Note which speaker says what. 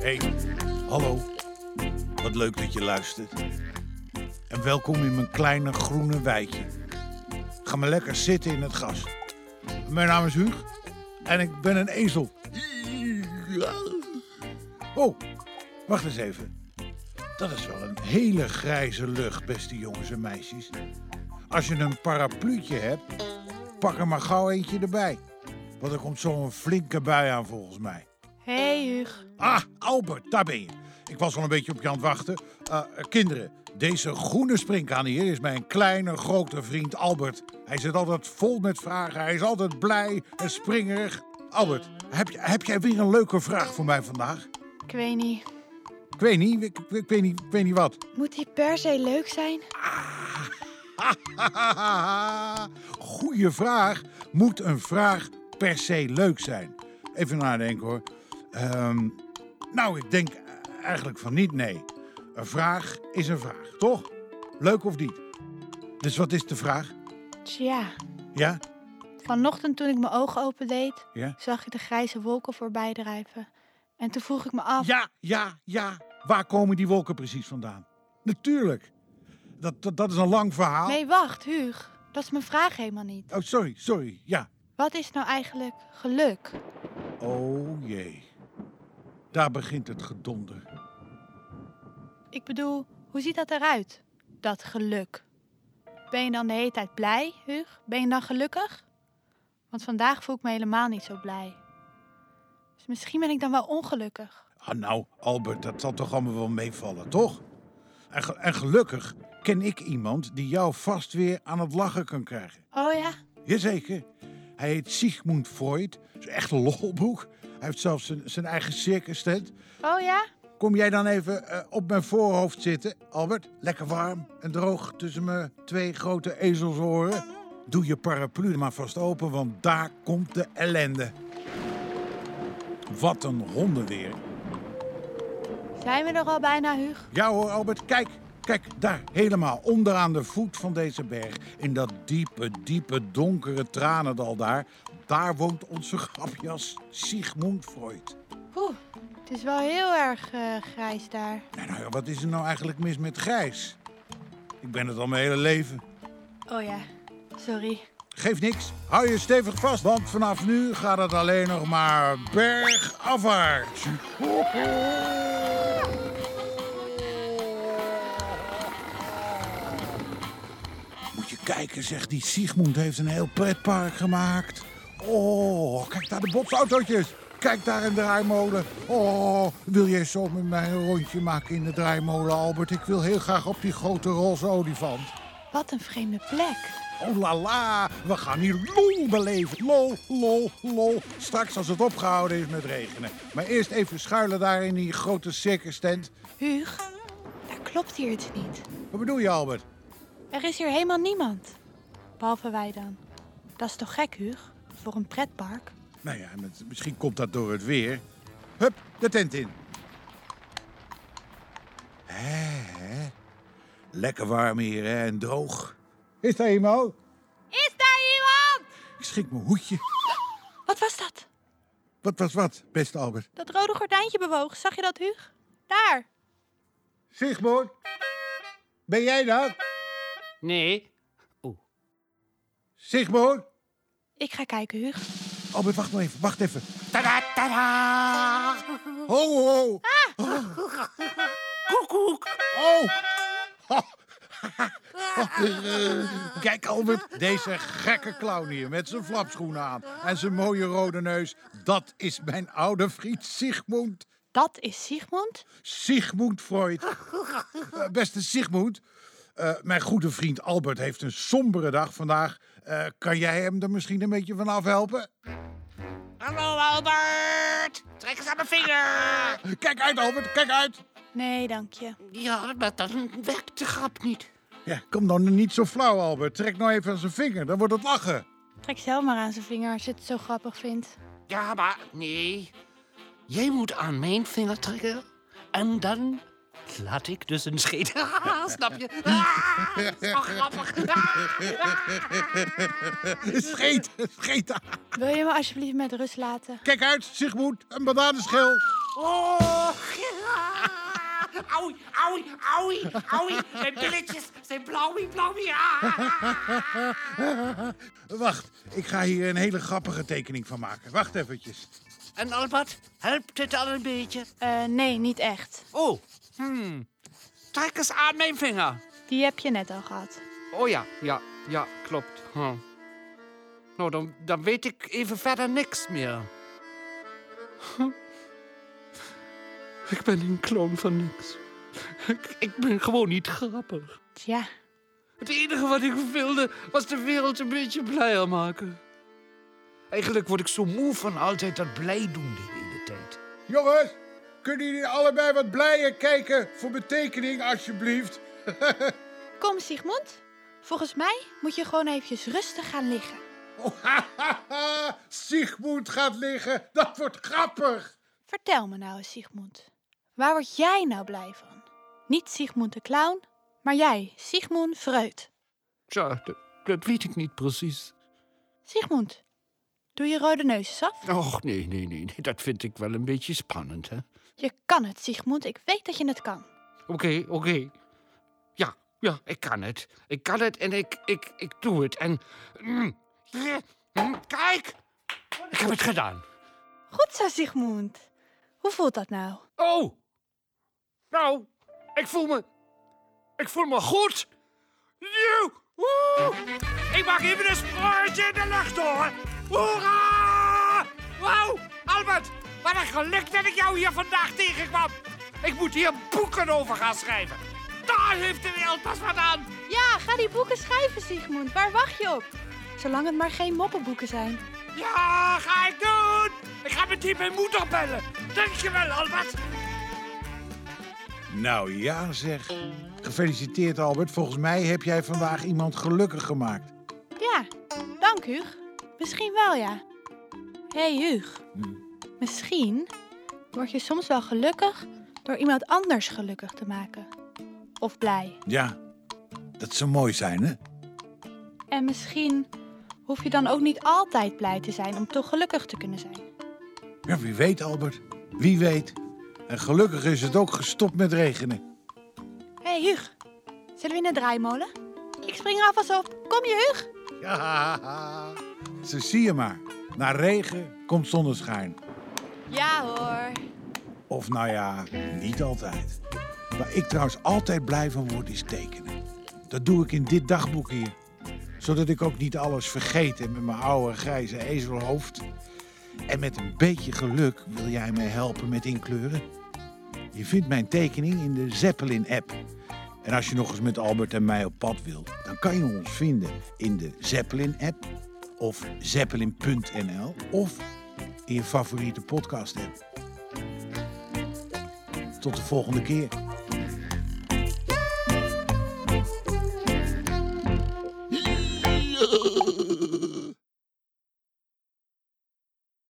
Speaker 1: Hey, hallo. Wat leuk dat je luistert. En welkom in mijn kleine groene wijkje. Ga maar lekker zitten in het gras. Mijn naam is Huug en ik ben een ezel. Oh, wacht eens even. Dat is wel een hele grijze lucht, beste jongens en meisjes. Als je een parapluutje hebt, pak er maar gauw eentje erbij. Want er komt zo'n flinke bui aan volgens mij.
Speaker 2: Hey Huug.
Speaker 1: Ah, Albert, daar ben je. Ik was al een beetje op je aan het wachten. Eh, kinderen, deze groene springkaan hier is mijn kleine grote vriend Albert. Hij zit altijd vol met vragen, hij is altijd blij en springerig. Albert, heb, je- heb jij weer een leuke vraag voor mij vandaag?
Speaker 2: Ik weet niet.
Speaker 1: Ik weet niet, ik, ik- ik weet niet, ik weet niet wat.
Speaker 2: Moet die per se leuk zijn?
Speaker 1: Goeie vraag. Moet een vraag per se leuk zijn? Even nadenken hoor. Ehm, nou, ik denk eigenlijk van niet, nee. Een vraag is een vraag, toch? Leuk of niet? Dus wat is de vraag?
Speaker 2: Tja.
Speaker 1: Ja?
Speaker 2: Vanochtend toen ik mijn ogen opendeed,
Speaker 1: Ja?
Speaker 2: zag ik de grijze wolken voorbij drijven. En toen vroeg ik me af,
Speaker 1: Ja, ja, ja. Waar komen die wolken precies vandaan? Natuurlijk. Dat, dat, dat is een lang verhaal.
Speaker 2: nee wacht Huug, dat is mijn vraag helemaal niet.
Speaker 1: Oh, sorry, sorry. Ja.
Speaker 2: Wat is nou eigenlijk geluk?
Speaker 1: Oh jee. Daar begint het gedonder.
Speaker 2: Ik bedoel, hoe ziet dat eruit? Dat geluk. Ben je dan de hele tijd blij, Huug? Ben je dan gelukkig? Want vandaag voel ik me helemaal niet zo blij. Dus misschien ben ik dan wel ongelukkig.
Speaker 1: Ah, nou, Albert, dat zal toch allemaal wel meevallen, toch? En, ge- en gelukkig ken ik iemand die jou vast weer aan het lachen kan krijgen.
Speaker 2: Oh ja,
Speaker 1: Jazeker. Hij heet Sigmund Freud. Dat is echt een lolbroek. Hij heeft zelfs zijn, zijn eigen circus tent.
Speaker 2: oh ja.
Speaker 1: Kom jij dan even eh, op mijn voorhoofd zitten, Albert? Lekker warm en droog tussen mijn twee grote ezelsoren. Doe je paraplu maar vast open, want daar komt de ellende. Wat een hondenweer.
Speaker 2: Zijn we er al bijna, Huug?
Speaker 1: Ja hoor, Albert, kijk. Kijk, daar, helemaal onderaan de voet van deze berg. In dat diepe, diepe, donkere tranendal daar. Daar woont onze grapjas Sigmund Freud.
Speaker 2: Oeh, het is wel heel erg eh, grijs daar.
Speaker 1: Nou, nou ja, wat is er nou eigenlijk mis met grijs? Ik ben het al mijn hele leven.
Speaker 2: Oh ja, sorry.
Speaker 1: Geeft niks. Hou je stevig vast, want vanaf nu gaat het alleen nog maar bergafwaarts. Moet je kijken, zeg, die Sigmund heeft een heel pretpark gemaakt. Oh, kijk daar de botsautootjes. Kijk daar een draaimolen. Oh, wil jij zo met mij een rondje maken in de draaimolen, Albert? Ik wil heel graag op die grote roze olifant.
Speaker 2: Wat een vreemde plek.
Speaker 1: Oh la la, we gaan hier lol beleven. Lol, lol, lol. Straks als het opgehouden is met regenen. Maar eerst even schuilen daar in die grote circus tent.
Speaker 2: Huug, daar klopt hier iets niet.
Speaker 1: Wat bedoel je, Albert?
Speaker 2: Er is hier helemaal niemand. Behalve wij dan. Dat is toch gek, Huug? Voor een pretpark.
Speaker 1: Nou ja, met- misschien komt dat door het weer. Hup, de tent in. Hè, hè. Lekker warm hier hè, en droog. Is daar iemand?
Speaker 2: Is daar iemand?
Speaker 1: Ik schrik mijn hoedje.
Speaker 2: Wat was dat?
Speaker 1: Wat was wat, beste Albert?
Speaker 2: Dat rode gordijntje bewoog. Zag je dat, Huug? Daar.
Speaker 1: Sigmund, ben jij dat?
Speaker 3: Nee. Oeh.
Speaker 1: Sigmund?
Speaker 2: Ik ga kijken, Huug.
Speaker 1: Albert, wacht nog even, wacht even. Tada, tada! Ho, ho!
Speaker 3: Koekoek.
Speaker 1: Oh! eh, Kijk, Albert, deze gekke clown hier met zijn flapschoenen aan en zijn mooie rode neus. Dat is mijn oude vriend Sigmund.
Speaker 2: Dat is Sigmund.
Speaker 1: Sigmund Freud. Eh, Beste Sigmund, eh, mijn goede vriend Albert heeft een sombere dag vandaag. Eh, kan jij hem er misschien een beetje van afhelpen?
Speaker 3: Hallo Albert. Trek eens aan mijn vinger.
Speaker 1: Kijk uit, Albert, kijk uit!
Speaker 2: Nee, dank je.
Speaker 3: Ja, maar dan werkt de grap niet.
Speaker 1: Ja, kom dan niet zo flauw, Albert. Trek nou even aan zijn vinger, dan wordt het lachen.
Speaker 2: Trek zelf maar aan zijn vinger als je het zo grappig vindt.
Speaker 3: Ja, maar nee. Jij moet aan mijn vinger trekken. En dan laat ik dus een scheet. Snap je? Ah, zo grappig.
Speaker 1: Scheet, scheet.
Speaker 2: Wil je me alsjeblieft met rust laten?
Speaker 1: Kijk uit, Sigmoed, een bananenschil.
Speaker 3: Oh, Auwie, auwie, auwie, auwie. Mijn billetjes zijn blauwie, blauwie. Ah.
Speaker 1: Wacht, ik ga hier een hele grappige tekening van maken. Wacht eventjes.
Speaker 3: En Albert, helpt dit al een beetje?
Speaker 2: Eh, nee, niet echt.
Speaker 3: Oh, hmm. trek eens aan mijn vinger.
Speaker 2: Die heb je net al gehad.
Speaker 3: Oh ja, ja, ja, klopt. Huh. Nou, dan, dan weet ik even verder niks meer. Huh. Ik ben een kloon van niks. Ik, ik ben gewoon niet grappig.
Speaker 2: Tja,
Speaker 3: Het enige wat ik wilde was de wereld een beetje blijer maken. Eigenlijk word ik zo moe van altijd dat blij doen de hele tijd.
Speaker 1: Jongens, kunnen jullie allebei wat blijer kijken voor mijn tekening, alsjeblieft?
Speaker 2: kom Sigmund. Volgens mij moet je gewoon eventjes rustig gaan liggen.
Speaker 1: Oh, ha, ha, ha. Sigmoed gaat liggen, dat wordt grappig.
Speaker 2: Vertel me nou eens, Sigmund. Waar word jij nou blij van? Niet Sigmund de clown, maar jij, Sigmund Freud.
Speaker 3: Tja, dat, dat weet ik niet precies.
Speaker 2: Sigmund, doe je rode neusjes af?
Speaker 3: Och, nee, nee, nee, nee, dat vind ik wel een beetje spannend, hè?
Speaker 2: Je kan het, Sigmund. Ik weet dat je het kan.
Speaker 3: Oké, oké. Ja, ja, ik kan het. Ik kan het en ik, ik, ik doe het. En. Mm, ja, mm, kijk! Ik heb het gedaan.
Speaker 2: Goed zo, Sigmund. Hoe voelt dat nou?
Speaker 3: Oh! Nou, ik voel me. Ik voel me goed! Joe! Woe! Ik maak even een sprongetje in de lucht hoor! Hoera! Wauw! Albert, wat een geluk dat ik jou hier vandaag tegenkwam! Ik moet hier boeken over gaan schrijven! Daar heeft de wereld pas wat aan!
Speaker 2: Ja, ga die boeken schrijven, Sigmund. Waar wacht je op? Zolang het maar geen moppenboeken zijn.
Speaker 3: Ja, ga ik doen! Ik ga met die mijn moeder bellen! Dankjewel, Albert!
Speaker 1: Nou ja, zeg. Gefeliciteerd, Albert. Volgens mij heb jij vandaag iemand gelukkig gemaakt.
Speaker 2: Ja, dank Huug. Misschien wel, ja. Hé hey, Huug. Misschien word je soms wel gelukkig door iemand anders gelukkig te maken. Of blij.
Speaker 1: Ja, dat zou mooi zijn, hè?
Speaker 2: En misschien hoef je dan ook niet altijd blij te zijn om toch gelukkig te kunnen zijn.
Speaker 1: Ja, wie weet, Albert. Wie weet. En gelukkig is het ook gestopt met regenen.
Speaker 2: Hé hey, Huug, zullen we in de draaimolen? Ik spring er alvast op. Kom je, Huug?
Speaker 1: Ja, ze zie je maar. Na regen komt zonneschijn.
Speaker 2: Ja hoor.
Speaker 1: Of nou ja, niet altijd. Waar ik trouwens altijd blij van word, is tekenen. Dat doe ik in dit dagboek hier. Zodat ik ook niet alles vergeet en met mijn oude grijze ezelhoofd. En met een beetje geluk wil jij mij helpen met inkleuren. Je vindt mijn tekening in de Zeppelin-app. En als je nog eens met Albert en mij op pad wilt, dan kan je ons vinden in de Zeppelin-app of zeppelin.nl of in je favoriete podcast-app. Tot de volgende keer.